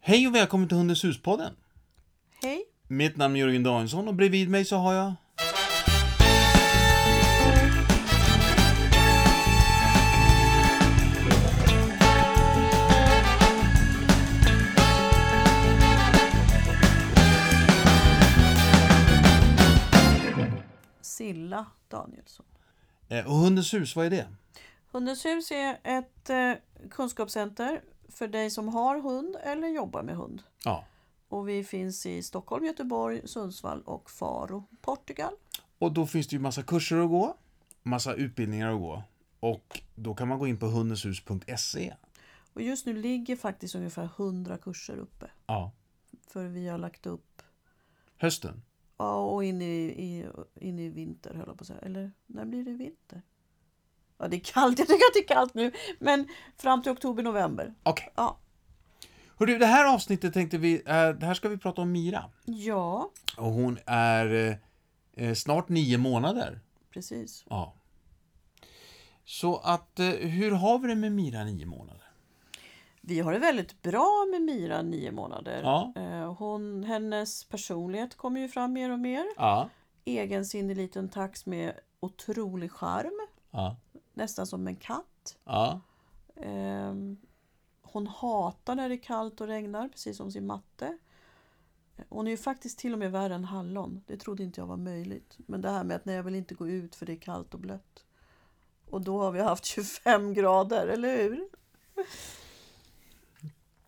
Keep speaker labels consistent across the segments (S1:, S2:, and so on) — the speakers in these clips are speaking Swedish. S1: Hej och välkommen till Hundens hus-podden.
S2: Hej.
S1: Mitt namn är Jörgen Danielsson och bredvid mig så har jag...
S2: Silla Danielsson.
S1: Eh, och Hundens hus, vad är det?
S2: Hundens hus är ett eh, kunskapscenter för dig som har hund eller jobbar med hund.
S1: Ja.
S2: Och vi finns i Stockholm, Göteborg, Sundsvall och Faro, Portugal.
S1: Och då finns det ju massa kurser att gå, massa utbildningar att gå. Och då kan man gå in på hundenshus.se.
S2: Och just nu ligger faktiskt ungefär 100 kurser uppe.
S1: Ja.
S2: För vi har lagt upp,
S1: Hösten.
S2: ja och in i, i, in i vinter höll jag på att säga. Eller när blir det vinter? Ja det är kallt, jag tycker att det är kallt nu. Men fram till oktober, november.
S1: Okej.
S2: Ja.
S1: Hördu, det här avsnittet tänkte vi... Eh, det här ska vi prata om Mira.
S2: Ja,
S1: Och hon är eh, eh, snart nio månader.
S2: precis.
S1: Ja. Så att, eh, hur har vi det med Mira nio månader?
S2: Vi har det väldigt bra med Mira nio månader.
S1: Ja.
S2: Eh, Hon, hennes personlighet kommer ju fram mer och mer.
S1: Ja.
S2: Egensinnig liten tax med otrolig charm.
S1: Ja.
S2: Nästan som en katt.
S1: Ja.
S2: Ehm, Hon hatar när det är kallt och regnar, precis som sin matte. Hon är ju faktiskt till och med värre än hallon. Det trodde inte jag var möjligt. Men det här med att nej, jag vill inte gå ut för det är kallt och blött. Och då har vi haft 25 grader, eller hur?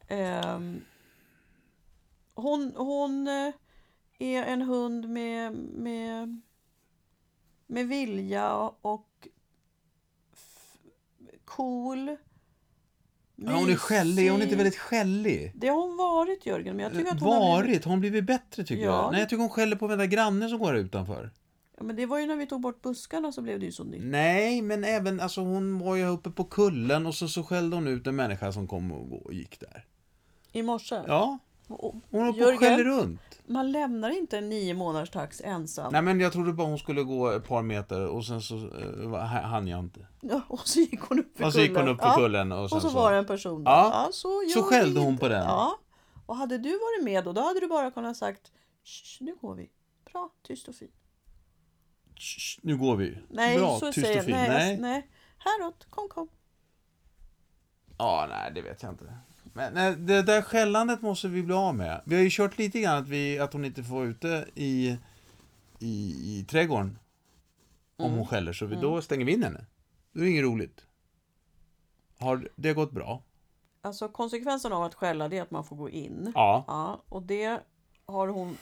S2: Ehm, hon, hon eh, är en hund med, med, med vilja och f- cool.
S1: Ja, hon är skällig. Hon är inte
S2: mysig.
S1: väldigt skällig.
S2: Det har hon varit Jörgen, men jag tycker att hon har blivit-
S1: Varit? Har hon blivit bättre tycker
S2: Ja.
S1: jag? Nej, jag tycker hon skäller på den där grannen som går här utanför.
S2: Ja, men det var ju när vi tog bort buskarna så blev det ju så
S1: Mm.
S2: nytt.
S1: Nej, men även, alltså hon var ju uppe på kullen och så, så skällde hon ut en människa som kom och och gick där.
S2: I morse.
S1: Ja,
S2: Och-
S1: hon håller på och
S2: Jörgen?
S1: skäller runt.
S2: Man lämnar inte en nio månaders tax ensam.
S1: Nej, men jag trodde bara hon skulle gå ett par meter och sen så eh, var- ha- hann jag inte.
S2: Ja, Och så gick hon upp för
S1: Och så gick hon upp på
S2: Ja,
S1: kullen och sen
S2: Och så
S1: så...
S2: var det en person där.
S1: Ja.
S2: så,
S1: Så
S2: gör
S1: skällde
S2: vi
S1: hon
S2: inte.
S1: på den.
S2: Ja. Och hade du varit med då, då hade du bara kunnat sagt "Shh, nu går vi. Bra, tyst och fin.
S1: "Shh, Nu går vi.
S2: Nej,
S1: Bra,
S2: så
S1: tyst
S2: säger
S1: och fin.
S2: Nej,
S1: Nej.
S2: jag- nej. Häråt, kom kom.
S1: Ja, nej, det vet jag inte. Men nej, det där skällandet måste vi bli av med. Vi har ju kört lite grann att, vi, att hon inte får vara ute i, i, i trädgården. Om hon skäller, så vi, då stänger vi in henne. Det är inget roligt. Har det gått bra?
S2: Alltså konsekvensen av att skälla det är att man får gå in.
S1: Ja.
S2: Ja, och det har hon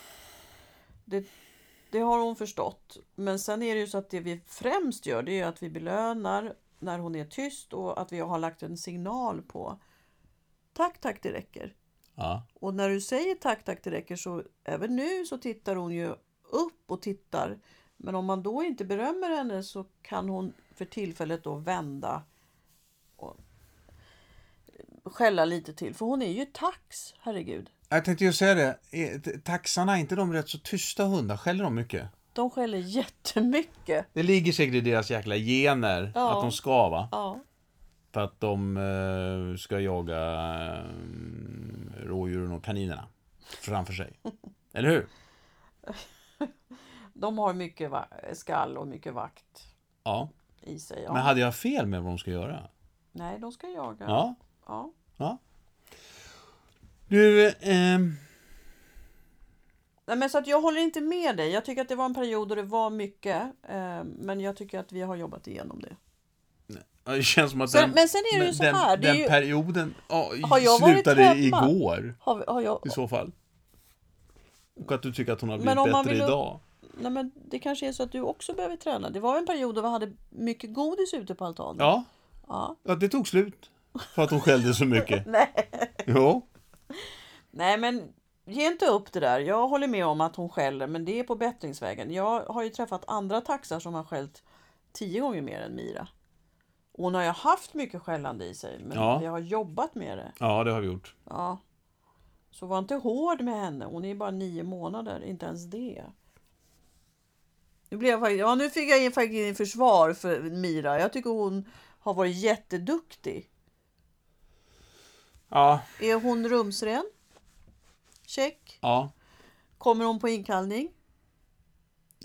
S2: det, det har hon förstått. Men sen är det ju så att det vi främst gör det är ju att vi belönar när hon är tyst och att vi har lagt en signal på Tack, tack, det räcker.
S1: ja.
S2: Och när du säger tack, tack, det räcker så även nu så tittar hon ju upp och tittar. Men om man då inte berömmer henne så kan hon för tillfället då vända och skälla lite till. För hon är ju tax, herregud.
S1: Jag tänkte ju säga det. Är- t- Taxarna, är inte de rätt så tysta hundar? Skäller de mycket?
S2: De skäller jättemycket.
S1: Det ligger säkert i deras jäkla gener
S2: Ja.
S1: att de ska, va?
S2: Ja.
S1: För att de eh, ska jaga eh, rådjuren och kaninerna framför sig. Eller hur?
S2: De har mycket va- skall och mycket vakt
S1: Ja.
S2: i sig. Ja.
S1: Men hade jag fel med vad de ska göra?
S2: Nej, de ska jaga.
S1: Ja.
S2: Ja.
S1: ja. Du, ehm,
S2: Nej, men så att jag håller inte med dig. Jag tycker att det var en period då det var mycket. Eh, men jag tycker att vi har jobbat igenom det.
S1: det känns som att
S2: Sen,
S1: den,
S2: men sen är det ju så
S1: den,
S2: här. Det är
S1: den
S2: ju,
S1: perioden ja,
S2: Har jag varit
S1: slutade
S2: hemma?
S1: igår
S2: har, vi- har jag,
S1: i så fall. Och att du tycker att hon har blivit
S2: Men om man
S1: bättre
S2: vill-
S1: idag.
S2: nej, men det kanske är så att du också behöver träna. Det var en period då vi hade mycket godis ute på altanen.
S1: Ja,
S2: Ja.
S1: ja, det tog slut. För att hon skällde så mycket.
S2: Nej.
S1: Jo.
S2: Nej, men ge inte upp det där. Jag håller med om att hon skäller, men det är på bättringsvägen. Jag har ju träffat andra taxar som har skällt tio gånger mer än Mira. Och hon har ju haft mycket skällande i sig, men
S1: Ja.
S2: vi har jobbat med det.
S1: Ja, det har vi gjort.
S2: Ja. Så var inte hård med henne. Hon är ju bara nio månader, inte ens det. Nu, blev jag, faktiskt- ja, nu fick jag in- faktiskt in försvar för Mira. Jag tycker hon har varit jätteduktig.
S1: Ja,
S2: Är hon rumsren? Check.
S1: Ja.
S2: Kommer hon på inkallning?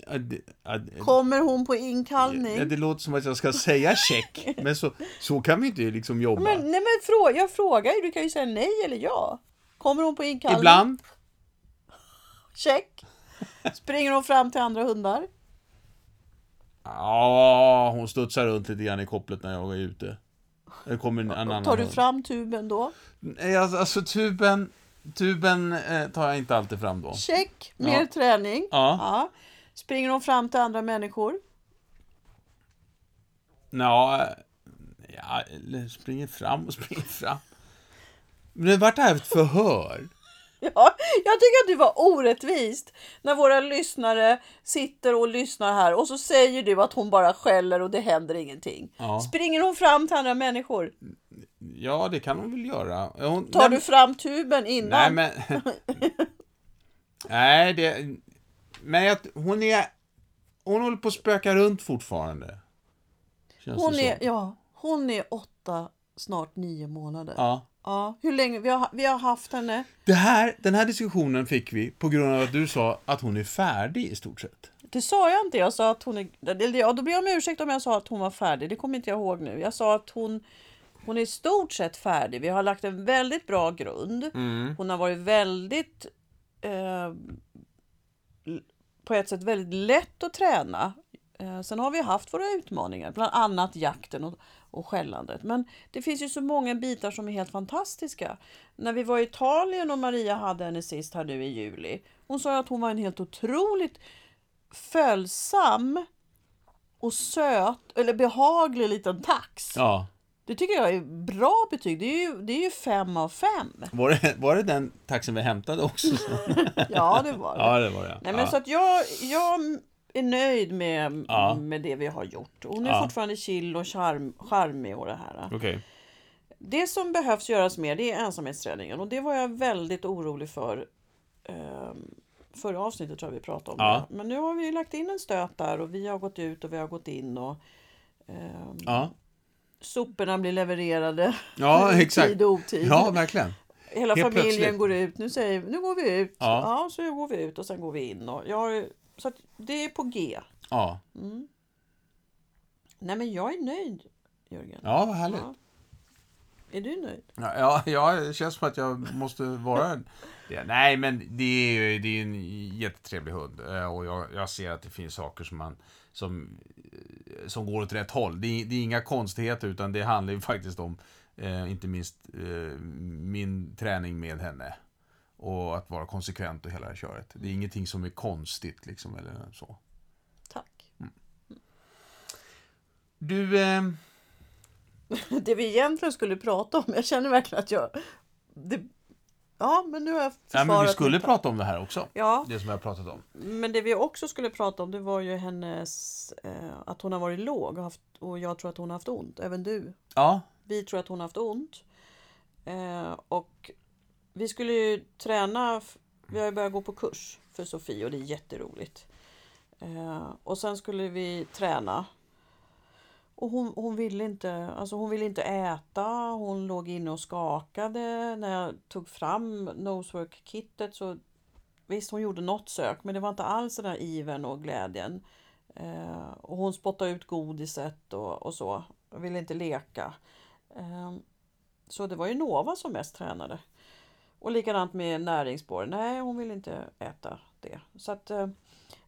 S1: Ja, det- ja, det-
S2: Kommer hon på
S1: Ja,
S2: inkallning?
S1: det låter som att jag ska säga check, men så, så kan vi inte liksom jobba.
S2: Men, nej men frå, jag frågar ju, du kan ju säga nej eller ja. Kommer hon på inkallning?
S1: Ibland,
S2: Check. Springer hon fram till andra hundar?
S1: ja, hon studsar runt lite grann i kopplet när jag är ute. Det kommer en annan
S2: Tar du
S1: hund.
S2: fram tuben då?
S1: Nej, alltså, alltså tuben, tuben eh, tar jag inte alltid fram då.
S2: Check. Mer
S1: Ja.
S2: träning.
S1: Ja,
S2: Ja. Springer hon fram till andra människor?
S1: ja, eh, ja eller springer fram och springer fram. Men det vart det här ett förhör.
S2: Ja, jag tycker att du var orättvist när våra lyssnare sitter och lyssnar här och så säger du att hon bara skäller och det händer ingenting.
S1: Ja.
S2: Springer hon fram till andra människor?
S1: Ja, det kan hon väl göra. Hon,
S2: Tar du fram tuben innan?
S1: Nej, men... Nej, det... Men jag, hon är... Hon håller på att spöka runt fortfarande. Känns
S2: hon,
S1: det
S2: är,
S1: så.
S2: ja, hon är åtta, snart nio månader. Ja.
S1: Ja.
S2: hur länge? Vi har, vi har haft henne.
S1: Det här, den här diskussionen fick vi på grund av att du sa att hon är färdig i stort sett.
S2: Det sa jag inte. Jag sa att hon är... eller Ja, då ber jag om ursäkt om jag sa att hon var färdig. Det kommer inte jag ihåg nu. Jag sa att hon, hon är i stort sett färdig. Vi har lagt en väldigt bra grund. Hon har varit väldigt... Eh, l- på ett sätt väldigt lätt att träna. Eh, sen har vi haft våra utmaningar, bland annat jakten och, och skällandet. Men det finns ju så många bitar som är helt fantastiska. När vi var i Italien och Maria hade henne sist här nu i juli. Hon sa ju att hon var en helt otroligt följsam och söt, eller behaglig liten tax.
S1: Ja.
S2: Det tycker jag är bra betyg. Det är ju, det är ju fem av fem.
S1: Var det, var det den taxen vi hämtade också?
S2: Ja, det var det.
S1: ja, det var det.
S2: Nej, men
S1: ja.
S2: så att jag, jag är nöjd med,
S1: Ja.
S2: med det vi har gjort. Hon är
S1: Ja.
S2: fortfarande chill och charm, charmig och det här.
S1: Okej.
S2: Det som behövs göras mer det är ensamhetsträningen och det var jag väldigt orolig för. ehm, Förra avsnittet tror jag vi pratade om
S1: Ja.
S2: det. Men nu har vi lagt in en stöt där och vi har gått ut och vi har gått in och ehm,
S1: Ja.
S2: soporna blir levererade
S1: ja,
S2: i
S1: exakt.
S2: tid och otid.
S1: Ja, verkligen.
S2: Hela
S1: Helt
S2: familjen
S1: plötsligt.
S2: går ut. Nu säger vi, nu går vi ut. Ja.
S1: Ja.
S2: så går vi ut och sen går vi in. Och jag har, ju- så att det är på G.
S1: Ja,
S2: Nej men jag är nöjd Jörgen.
S1: ja vad härligt.
S2: Ja. Är du nöjd?
S1: Ja, ja, ja, det känns som att jag måste vara... Ja, nej, men det är ju det är ju en jättetrevlig hund. eh, Och jag, jag ser att det finns saker som, man, som, eh, som går åt rätt håll. Det är, det är inga konstigheter, utan det handlar ju faktiskt om, eh, inte minst, eh, min träning med henne. Och att vara konsekvent och hela det här köret. Det är ingenting som är konstigt, liksom, eller så.
S2: Tack.
S1: Du, eh, Mm.
S2: Det vi egentligen skulle prata om. Jag känner verkligen att jag... Det, ja men nu har
S1: ja,
S2: jag försvarat
S1: men vi skulle
S2: mitt-
S1: prata om det här också.
S2: Ja,
S1: Det som vi har pratat om.
S2: men det vi också skulle prata om det var ju hennes... Eh, att hon har varit låg och, haft, och jag tror att hon har haft ont. Även du
S1: Ja,
S2: Vi tror att hon har haft ont. Eh, och vi skulle ju träna, f- vi har ju börjat gå på kurs för Sofie och det är jätteroligt. Eh, och sen skulle vi träna. Och hon, hon, ville inte, alltså hon ville inte äta, hon låg inne och skakade. När jag tog fram nosework-kittet så visst hon gjorde något sök men det var inte alls den där ivern och glädjen. Eh, och hon spottade ut godiset och, och så, och ville inte leka. Ehm, Så det var ju Nova som mest tränade. Och likadant med näringsspår. Nej, hon vill inte äta det. Så att, eh,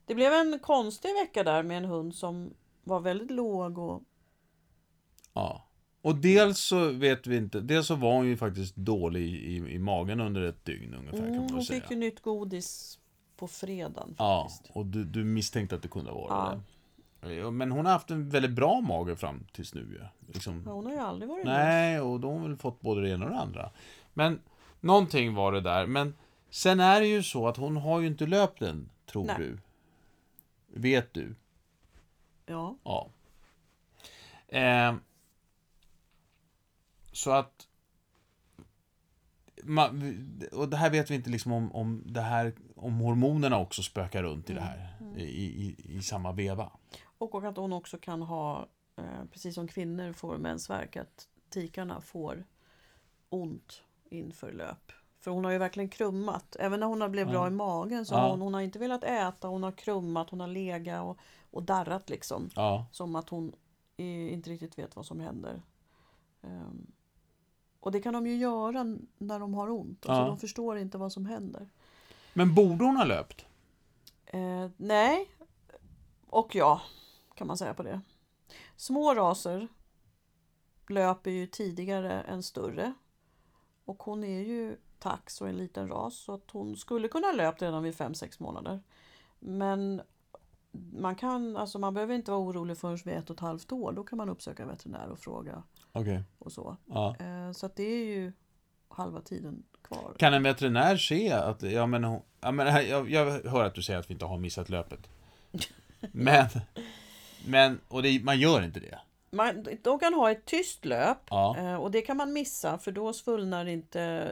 S2: det blev en konstig vecka där med en hund som var väldigt låg och
S1: Ja. Och dels så vet vi inte, dels så var hon ju faktiskt dålig i, i magen under ett dygn ungefär kan
S2: mm,
S1: man
S2: hon
S1: väl säga.
S2: fick ju nytt godis på fredagen.
S1: Ja,
S2: faktiskt.
S1: och du, du misstänkte att det kunde vara
S2: Ja.
S1: det. Ja, Men hon har haft en väldigt bra mage fram tills nu ju.
S2: Ja,
S1: Liksom.
S2: hon har ju aldrig varit låg.
S1: Nej, och då har hon väl fått både det ena och det andra. Men någonting var det där. Men sen är det ju så att hon har ju inte löpt än, tror
S2: Nej.
S1: du. Vet du.
S2: Ja.
S1: Ja. Eh, så att... Man, och det här vet vi inte liksom om, om, det här, om hormonerna också spökar runt i det här. I, i, i samma veva.
S2: Och, och att hon också kan ha, eh, precis som kvinnor får mensvärk, att tikarna får ont inför löp. För hon har ju verkligen krummat. Även när hon har blivit bra
S1: Ja.
S2: i magen så
S1: Ja.
S2: har hon, hon har inte velat äta, hon har krummat, hon har legat och, och darrat liksom.
S1: Ja.
S2: Som att hon i- inte riktigt vet vad som händer. Ehm, och det kan de ju göra n- när de har ont. Alltså
S1: Ja.
S2: De förstår inte vad som händer.
S1: Men borde hon ha löpt?
S2: Eh, nej, och ja, kan man säga på det. Små raser löper ju tidigare än större. Och hon är ju tax och en liten ras så att hon skulle kunna ha löpt redan vid 5-6 månader. Men man, kan, alltså man behöver inte vara orolig förrän vid ett och ett halvt år. Då kan man uppsöka veterinär och fråga
S1: Okej.
S2: och så.
S1: Ja.
S2: Eh, så att det är ju halva tiden kvar.
S1: Kan en veterinär se att, ja men, hon, ja, men här- jag, jag hör att du säger att vi inte har missat löpet. Men, men, och det, man gör inte det.
S2: Man, de kan ha ett tyst löp
S1: Ja.
S2: Eh, Och det kan man missa för då svullnar inte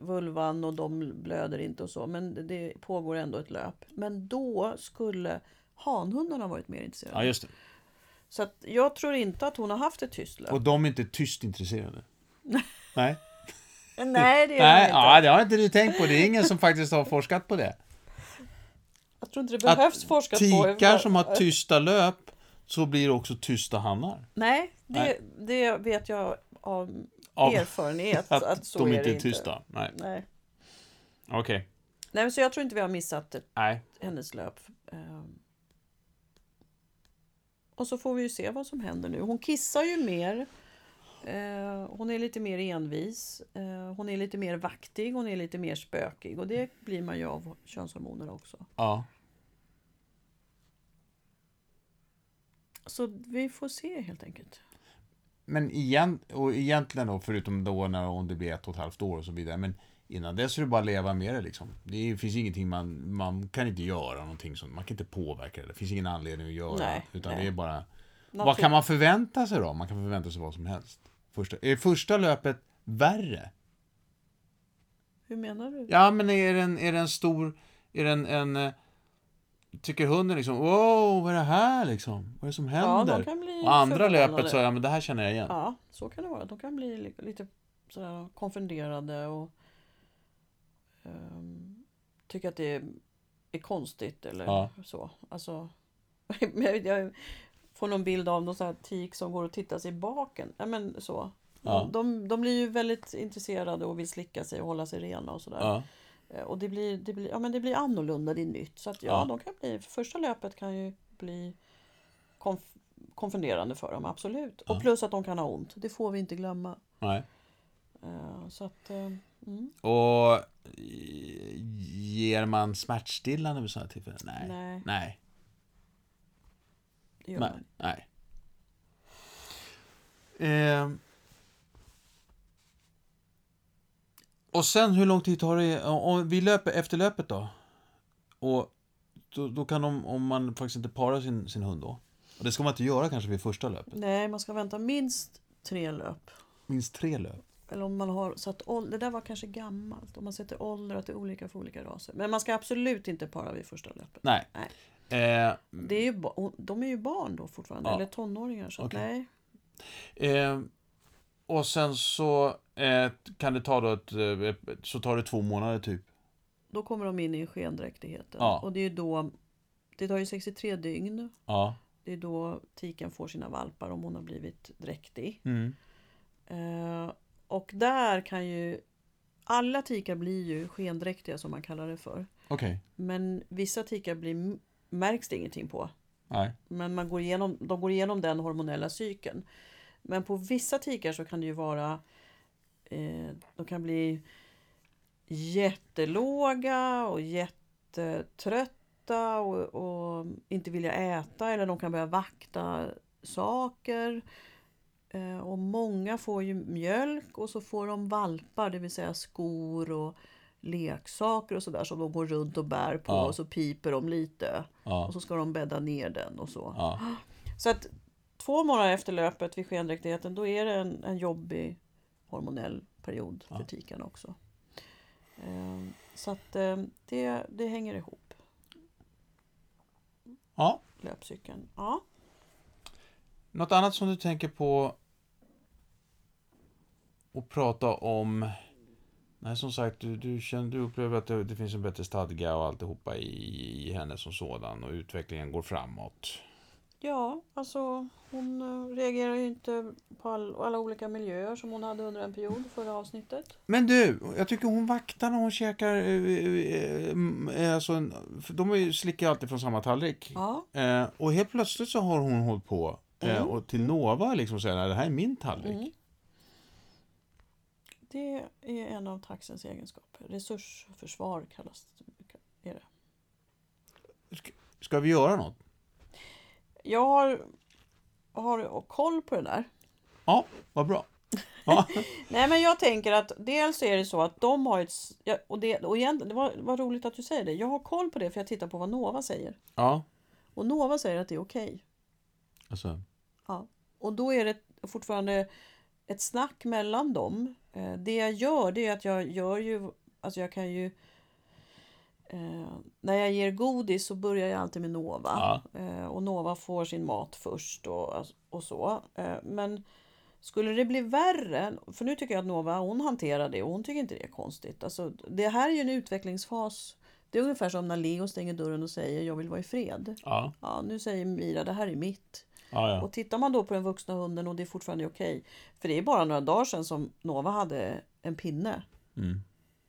S2: vulvan och de blöder inte och så. Men det pågår ändå ett löp. Men då skulle hanhundarna varit mer intresserade.
S1: Ja, just det.
S2: Så att jag tror inte att hon har haft ett tyst löp.
S1: Och de är inte tyst intresserade. Nej.
S2: Nej, det är hon
S1: Nej,
S2: inte.
S1: ja, det har inte du tänkt på. Det är ingen som faktiskt har forskat på det.
S2: Jag tror inte det behövs forskas på.
S1: Tikar som har tysta löp, så blir det också tysta hannar.
S2: Nej, det,
S1: Nej.
S2: det vet jag av
S1: Av
S2: erfarenhet.
S1: att,
S2: att, så
S1: de
S2: är
S1: inte
S2: det
S1: är tysta. Nej,
S2: Inte. Nej.
S1: okej.
S2: Nej, men så jag tror inte vi har missat ett,
S1: Nej.
S2: hennes löp. Ehm. Och så får vi ju se vad som händer nu. Hon kissar ju mer. Eh, Hon är lite mer envis. Eh, Hon är lite mer vaktig. Hon är lite mer spökig. Och det blir man ju av könshormonerna också.
S1: Ja.
S2: Så vi får se helt enkelt.
S1: Men igen, och egentligen då, förutom då när om det blir ett och ett halvt år och så vidare, men innan dess är det bara att leva med det liksom. Det finns ingenting man, man kan inte göra någonting sånt, man kan inte påverka det, det finns ingen anledning att göra.
S2: Nej,
S1: utan
S2: nej.
S1: det är bara, vad
S2: Natur-
S1: kan man förvänta sig då? Man kan förvänta sig vad som helst. Första, är första löpet värre?
S2: Hur menar du?
S1: Ja, men är det en, är det en stor... Är det en, en... eh, Tycker hunden liksom, wow, vad är det här liksom? Vad är det som
S2: Ja,
S1: händer?
S2: de kan bli
S1: och andra
S2: förvånade.
S1: löpet så, ja men det här känner jag igen.
S2: Ja, så kan det vara. De kan bli li- lite sådär konfunderade och ehm, tycka att det är, är konstigt eller
S1: Ja.
S2: så. Alltså, men jag, jag får någon bild av någon sån här tik som går och tittar sig i baken. Ja, men så.
S1: Ja.
S2: De, de blir ju väldigt intresserade och vill slicka sig och hålla sig rena och sådär.
S1: Ja.
S2: Eh, Och det blir, det, blir, ja, men det blir annorlunda, det är nytt. Så att, ja,
S1: Ja.
S2: de kan bli, första löpet kan ju bli konf, konfunderande för dem, absolut.
S1: Ja.
S2: Och plus att de kan ha ont, det får vi inte glömma.
S1: Nej.
S2: Eh, Så att, eh, mm,
S1: Och eh, ger man smärtstillande vid sådana tillfällen? Nej. Nej.
S2: nej,
S1: Nej.
S2: det gör
S1: Nej.
S2: man.
S1: Ehm. Och sen hur lång tid tar det? Om- Om vi löper efter löpet då? Och då, då kan de, om man faktiskt inte parar sin, sin hund då? Och det ska man inte göra kanske vid första löpet?
S2: nej, man ska vänta minst tre löp.
S1: Minst tre löp?
S2: Eller om man har satt ålder, det där var kanske gammalt, om man sätter ålder att det är olika för olika raser. Men man ska absolut inte para vid första löpet.
S1: Nej.
S2: Nej.
S1: Ehm,
S2: Det är ju, ba- de är ju barn då fortfarande,
S1: Ja.
S2: eller tonåringar. Så att
S1: Okej.
S2: nej,
S1: Eh, och sen så eh, kan det ta då ett, eh, så tar det två månader typ.
S2: Då kommer de in i skendräktigheten.
S1: Ja.
S2: Och det är ju då, det tar ju 63 dygn.
S1: Ja.
S2: Det är då tiken får sina valpar om hon har blivit dräktig.
S1: Mm.
S2: Eh, och där kan ju, alla tikar blir ju skendräktiga som man kallar det för.
S1: Okej.
S2: Men vissa tikar blir, märks det ingenting på.
S1: Nej.
S2: Men man går igenom, de går igenom den hormonella cykeln. Men på vissa tikar så kan det ju vara eh, De kan bli jättelåga och jättetrötta och, och inte vilja äta eller de kan börja vakta saker. Eh, och många får ju mjölk och så får de valpar, det vill säga skor och leksaker och sådär som de går runt och bär på
S1: Ja.
S2: och så piper de lite.
S1: Ja.
S2: Och så ska de bädda ner den och så.
S1: Ja.
S2: Så att två månader efter löpet vid skendräktigheten då är det en, en jobbig hormonell period för
S1: Ja.
S2: tikan också. Ehm, Så att ehm, det, det hänger ihop,
S1: ja.
S2: löpcykeln. Ja.
S1: Något annat som du tänker på att prata om Nej, som sagt, du, du, känner, du upplever att det, det finns en bättre stadga och alltihopa i, i henne som sådan och utvecklingen går framåt.
S2: Ja, alltså hon eh, reagerar ju inte på all, alla olika miljöer som hon hade under en period förra avsnittet.
S1: Men du, jag tycker hon vaktar när hon käkar... eh, eh, mm, eh, Alltså, en- för de är ju- slickar ju alltid från samma tallrik.
S2: Ja,
S1: Eh, och helt plötsligt så har hon hållit på eh,
S2: Mm.
S1: och till Nova liksom säger "Nej, det här är min tallrik.
S2: Mm. det är en av taxens egenskaper. Resursförsvar kallas det.
S1: Ska vi göra något?
S2: Jag har, har koll på det där.
S1: Ja, vad bra.
S2: Nej men jag tänker att dels så är det så att de har ett... s- ja, Och det, och igen, det var, det var roligt att du säger det. Jag har koll på det för jag tittar på vad Nova säger.
S1: Ja,
S2: Och Nova säger att det är okej.
S1: alltså.
S2: Och då är det fortfarande ett snack mellan dem. Eh, Det jag gör det är att jag gör ju, alltså jag kan ju eh, när jag ger godis så börjar jag alltid med Nova. Eh, och Nova får sin mat först och, alltså, och så. Eh, men skulle det bli värre, för nu tycker jag att Nova hon hanterar det och hon tycker inte det är konstigt. Alltså, det här är ju en utvecklingsfas. Det är ungefär som när Leo stänger dörren och säger jag vill vara i fred.
S1: Ja,
S2: Ja, nu säger Mira det här är mitt.
S1: ja, ja.
S2: Och tittar man då på den vuxna hunden och det är fortfarande okej. För det är bara några dagar sedan som Nova hade en pinne
S1: Mm.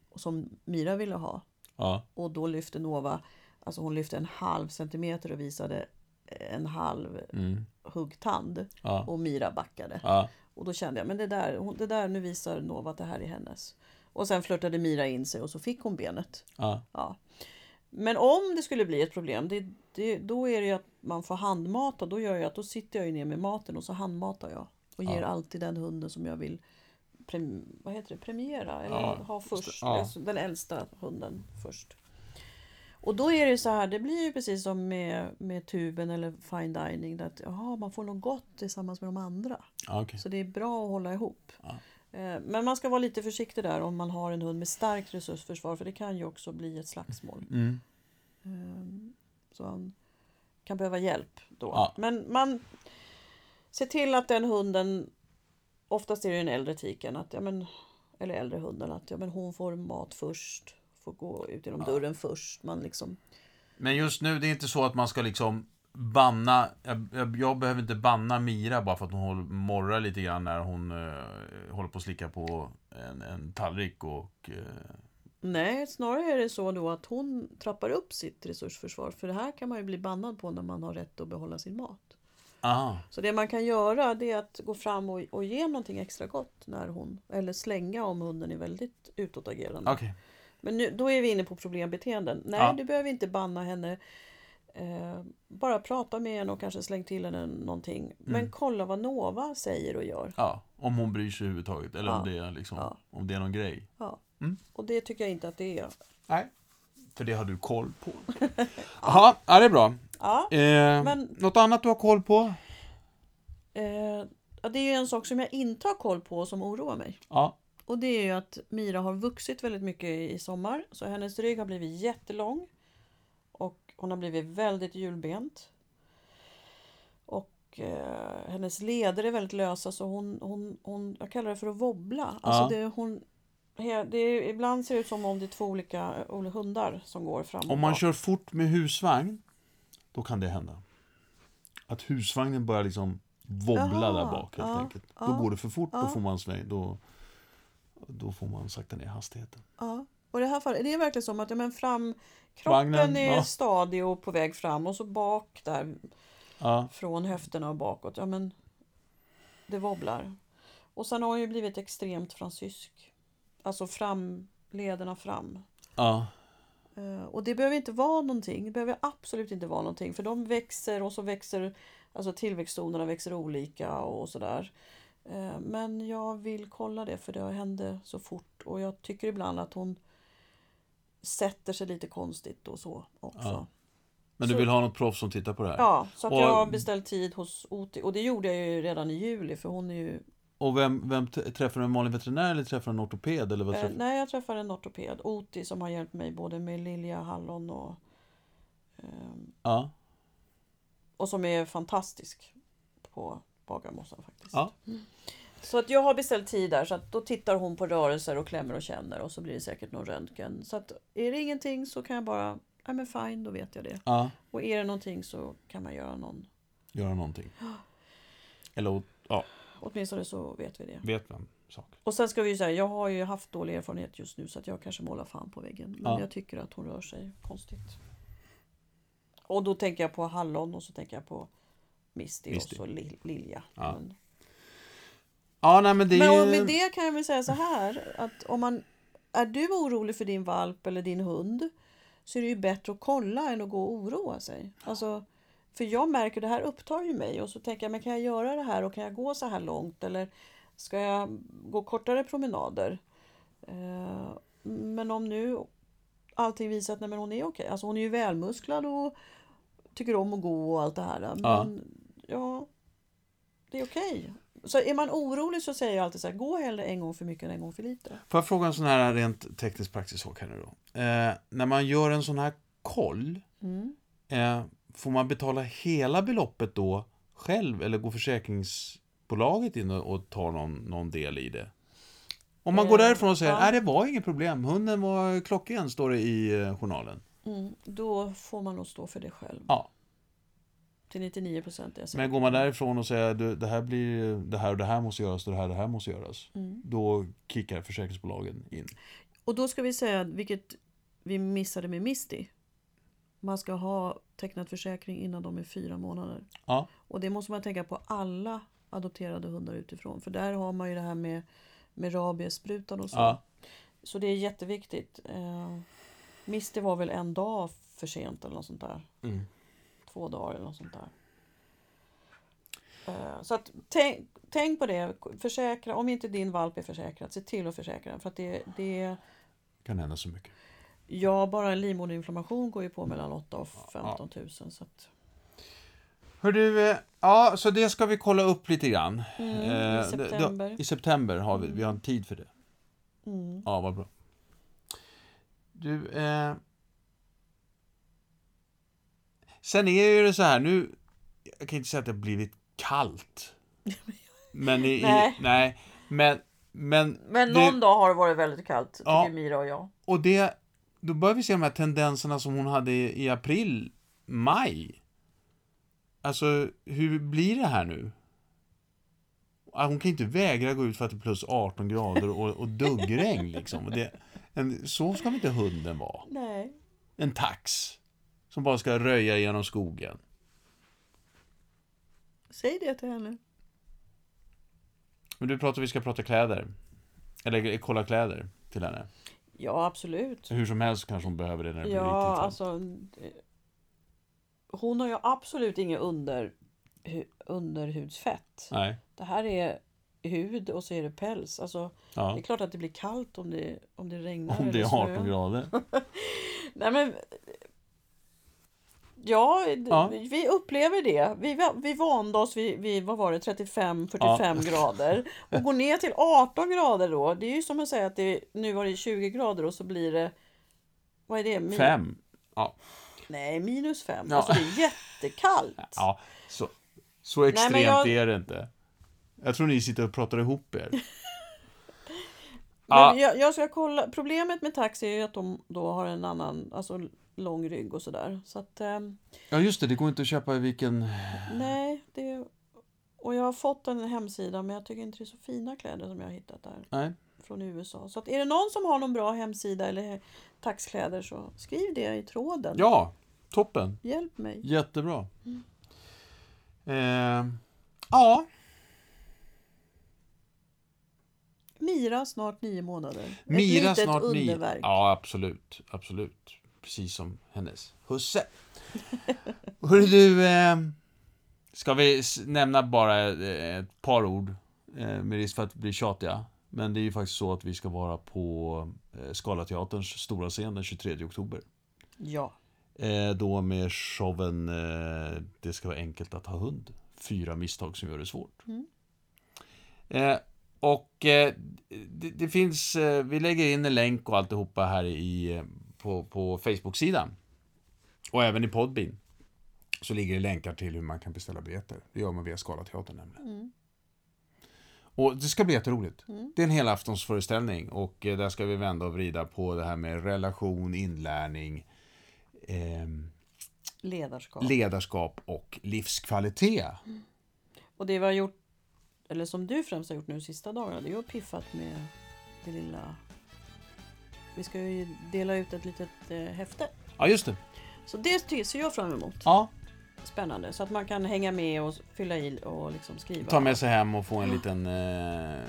S2: och som Mira ville ha.
S1: ja.
S2: Och då lyfte Nova, alltså hon lyfte en halv centimeter och visade en halv
S1: Mm.
S2: huggtand.
S1: ja.
S2: Och Mira backade.
S1: ja.
S2: Och då kände jag, men det där, hon- det där nu visar Nova att det här är hennes. Och sen flörtade Mira in sig och så fick hon benet.
S1: ja.
S2: Ja. Men om det skulle bli ett problem, det, det, då är det ju att man får handmata. Då gör jag att då sitter jag ju ner med maten och så handmatar jag. Och ger
S1: Ja.
S2: alltid den hunden som jag vill prem, vad heter det, premiera eller
S1: Ja,
S2: ha först.
S1: Ja.
S2: Alltså, den äldsta hunden först. Och då är det så här, det blir ju precis som med, med tuben eller fine dining. Att, jaha, man får något gott tillsammans med de andra.
S1: Ja, okej.
S2: Så det är bra att hålla ihop.
S1: Ja.
S2: Eh, Men man ska vara lite försiktig där om man har en hund med starkt resursförsvar för det kan ju också bli ett slagsmål.
S1: Mm.
S2: Ehm, Så han kan behöva hjälp då.
S1: Ja.
S2: Men man ser till att den hunden, oftast är det ju en äldre tiken, att, ja, men, eller äldre hunden, att ja, men hon får mat först, får gå ut genom dörren först. Man liksom,
S1: Men just nu, det är inte så att man ska liksom banna, jag, jag, jag behöver inte banna Mira bara för att hon håller, morrar lite grann när hon eh, håller på att slicka på en, en tallrik och... Eh,
S2: nej, snarare är det så då att hon trappar upp sitt resursförsvar för det här kan man ju bli bannad på när man har rätt att behålla sin mat.
S1: aha,
S2: Så det man kan göra det är att gå fram och, och ge någonting extra gott när hon, eller slänga om hunden är väldigt utåtagerande.
S1: okej.
S2: Men nu, då är vi inne på problembeteenden. Nej,
S1: Ja.
S2: du behöver inte banna henne. Eh, bara prata med henne och kanske släng till henne någonting.
S1: Mm.
S2: Men kolla vad Nova säger och gör.
S1: Ja, om hon bryr sig överhuvudtaget eller om,
S2: Ja.
S1: det är liksom,
S2: Ja.
S1: om det är någon grej.
S2: Ja.
S1: Mm.
S2: Och det tycker jag inte att det är.
S1: Nej. För det har du koll på. Jaha, ja, det är bra.
S2: Ja,
S1: Eh,
S2: Men-
S1: Något annat du har koll på?
S2: eh, ja, det är ju en sak som jag inte har koll på och som oroar mig.
S1: Ja.
S2: Och det är ju att Mira har vuxit väldigt mycket i sommar. Så hennes rygg har blivit jättelång. Och hon har blivit väldigt hjulbent. Och eh, hennes leder är väldigt lösa så hon, hon, hon jag kallar det för att wobbla. Alltså
S1: Ja.
S2: det, hon, he- det är, ibland ser det ut som om det är två olika, eh, olika hundar som går fram och
S1: Om man
S2: bak.
S1: kör fort med husvagn, då kan det hända. Att husvagnen börjar liksom wobbla
S2: Jaha,
S1: där bak helt
S2: ja,
S1: enkelt. Då
S2: ja,
S1: går det för fort, då
S2: ja.
S1: får man sväng, då, då får man sakta ner hastigheten.
S2: Ja. Och i det här fallet, det är verkligen som att ja, men fram, kroppen
S1: Vagnen,
S2: är
S1: ja.
S2: stadig och på väg fram och så bak där
S1: Ja,
S2: från höfterna och bakåt. Ja, men det wobblar. Och sen har hon ju blivit extremt fransysk. Alltså fram, lederna fram.
S1: ja,
S2: Eh, Och det behöver inte vara någonting. Det behöver absolut inte vara någonting. För de växer och så växer, alltså tillväxtzonerna växer olika och sådär. Eh, Men jag vill kolla det för det hände så fort och jag tycker ibland att hon sätter sig lite konstigt och så också.
S1: Ja. Men du
S2: Så-
S1: vill ha något proffs som tittar på det här?
S2: Ja, så att
S1: Och-
S2: jag har beställt tid hos OT och det gjorde jag ju redan i juli för hon är ju...
S1: Och vem, vem t- träffar du en vanlig veterinär eller träffar du en ortoped? Eller vad
S2: Eh,
S1: träffar...
S2: nej, jag träffade en ortoped, OT, som har hjälpt mig både med Lilja Hallon och... ehm,
S1: Ja,
S2: och som är fantastisk på Bagarmossen faktiskt.
S1: Ja.
S2: Så att jag har beställt tid där så att då tittar hon på rörelser och klämmer och känner och så blir det säkert någon röntgen. Så att är det ingenting så kan jag bara, ja men fine, då vet jag det.
S1: Ja,
S2: Och är det någonting så kan man göra någon,
S1: göra någonting. Eller åt- ja,
S2: åtminstone så vet vi det.
S1: vet man sak.
S2: Och sen ska vi ju säga, jag har ju haft dålig erfarenhet just nu så att jag kanske målar fan på väggen. Men
S1: Ja.
S2: jag tycker att hon rör sig konstigt. Och då tänker jag på hallon och så tänker jag på Misty,
S1: Misty.
S2: och så Lil- Lilja.
S1: Ja.
S2: Men,
S1: Ja, nej men det
S2: men
S1: är
S2: och med det kan jag väl säga så här att om man är du orolig för din valp eller din hund så är det ju bättre att kolla än att gå och oroa sig. Alltså, för jag märker det här upptar ju mig och så tänker jag men kan jag göra det här och kan jag gå så här långt eller ska jag gå kortare promenader? Eh, men om nu allting visar att nej, men hon är okej, alltså hon är ju välmusklad och tycker om att gå och allt det här. Men ja, det är okej. Så är man orolig så säger jag alltid så här, gå hellre en gång för mycket än en gång för lite.
S1: Får jag fråga en sån här rent teknisk praktisk sak här nu då? Eh, när man gör en sån här koll,
S2: Mm.
S1: eh, får man betala hela beloppet då själv eller går försäkringsbolaget in och, och tar någon, någon del i det? Om man går
S2: Eh,
S1: därifrån och säger,
S2: ja.
S1: nej det var inget problem, hunden var klockren, står det i eh, journalen.
S2: Mm. Då får man nog stå för det själv.
S1: Ja.
S2: Till 99 procent är jag säker
S1: Men går man därifrån och säger, du, det här blir, det här och det här måste göras, och det här och det här måste göras.
S2: Mm.
S1: Då kickar försäkringsbolagen in.
S2: Och då ska vi säga, vilket vi missade med Misty. Man ska ha tecknat försäkring innan de är fyra månader.
S1: Ja,
S2: Och det måste man tänka på alla adopterade hundar utifrån. För där har man ju det här med, med rabiessprutan och så.
S1: ja,
S2: Så det är jätteviktigt. Eh, Misty var väl en dag för sent eller något sånt där.
S1: Mm.
S2: Två dagar eller något sånt där. Eh, så att tänk, tänk på det. Försäkra, om inte din valp är försäkrad, se till att försäkra den. För att det, det,
S1: kan hända så mycket.
S2: ja, bara en livmoderinflammation går ju på mellan 8 och 15 000. Så att,
S1: Hör du, eh, ja, så det ska vi kolla upp lite grann.
S2: mm,
S1: Eh,
S2: I
S1: d- d-
S2: september.
S1: I september har vi, vi har en tid för det.
S2: Mm.
S1: Ja, vad bra. Du, eh... Sen är ju det så här, nu... Jag kan inte säga att det har blivit kallt. Men i,
S2: Nej.
S1: I, nej. Men, men,
S2: Men
S1: det-
S2: någon dag har det varit väldigt kallt, tycker
S1: Ja.
S2: Mira och jag.
S1: Och det, då börjar vi se de här tendenserna som hon hade i april, maj. Alltså, hur blir det här nu? Ah, Hon kan inte vägra gå ut för att det är plus 18 grader och, och duggregn liksom. Och Det, en, så ska väl inte hunden vara?
S2: Nej.
S1: En tax. Som bara ska röja genom skogen.
S2: Säg det till henne.
S1: Men du pratar, vi ska prata kläder. Eller kolla kläder till henne.
S2: Ja, absolut.
S1: Hur som helst kanske hon behöver det när det blir riktigt
S2: Ja,
S1: kallt.
S2: alltså. eh, Hon har ju absolut inget under, hu, underhudsfett.
S1: Nej.
S2: Det här är hud och så är det päls. Alltså, Det
S1: Ja.
S2: är klart att det blir kallt om det, om det regnar
S1: Om det
S2: eller
S1: är
S2: snöar.
S1: 18 grader.
S2: Nej, men, eh, ja, d-
S1: Ja.
S2: vi upplever det. Vi, va- vi vande oss vid, vid vad var det, 35-45 grader. Och går ner till 18 grader då. Det är ju som att säga att det, nu var det 20 grader och så blir det, vad är det? Min-
S1: Fem.
S2: Nej, minus fem.
S1: Ja.
S2: Alltså det är jättekallt.
S1: Ja, så, så extremt
S2: men jag-
S1: är det inte. Jag tror ni sitter och pratar ihop er.
S2: Men
S1: Ja.
S2: jag, jag ska kolla. Problemet med taxi är ju att de då har en annan, alltså lång rygg och sådär. Så att, ehm,
S1: Ja, just det. Det går inte att köpa i vilken...
S2: nej, det... Och jag har fått en hemsida men jag tycker inte det är så fina kläder som jag har hittat där
S1: Nej.
S2: från USA. Så att är det någon som har någon bra hemsida eller he- taxkläder så skriv det i tråden.
S1: Ja, toppen.
S2: Hjälp mig.
S1: Jättebra.
S2: Mm.
S1: Eh, ja,
S2: Mira snart nio månader. Ett
S1: Mira
S2: litet
S1: snart nio.
S2: underverk.
S1: Ja, absolut. Absolut. Precis som hennes husse. Hörru du, eh, ska vi s- nämna bara eh, ett par ord eh, med risk för att bli tjatiga. Men det är ju faktiskt så att vi ska vara på eh, Scalateaterns stora scen den 23 oktober.
S2: ja.
S1: Eh, då med showen eh, Det ska vara enkelt att ha hund. Fyra misstag som gör det svårt.
S2: Mm.
S1: Eh, och eh, det, det finns, eh, vi lägger in en länk och alltihopa här i, eh, på, på Facebook-sidan. Och även i Podbean. Så ligger det länkar till hur man kan beställa biljetter. Det gör man via Skala Teatern nämligen.
S2: Mm.
S1: Och det ska bli jätteroligt.
S2: Mm.
S1: Det är en helaftonsföreställning och eh, där ska vi vända och vrida på det här med relation, inlärning, ehm,
S2: Ledarskap.
S1: ledarskap och livskvalitet.
S2: Och det vi har gjort, eller som du främst har gjort nu de sista dagarna, det är ju att piffat med det lilla... Vi ska ju dela ut ett litet eh, häfte.
S1: Ja, just det.
S2: Så det ty- ser jag fram emot.
S1: Ja,
S2: Spännande. Så att man kan hänga med och s- fylla i och liksom skriva.
S1: ta med sig hem och få en liten eh, Mm.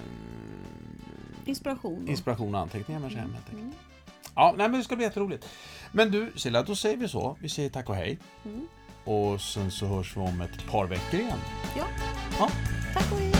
S2: Inspiration. då.
S1: inspiration och anteckningar med sig hem helt enkelt.
S2: Mm.
S1: Ja, nej men det ska bli jätteroligt. Men du Silla, då säger vi så. Vi säger tack och hej.
S2: Mm.
S1: Och sen så hörs vi om ett par veckor igen.
S2: Ja.
S1: Ja.
S2: Tack och hej.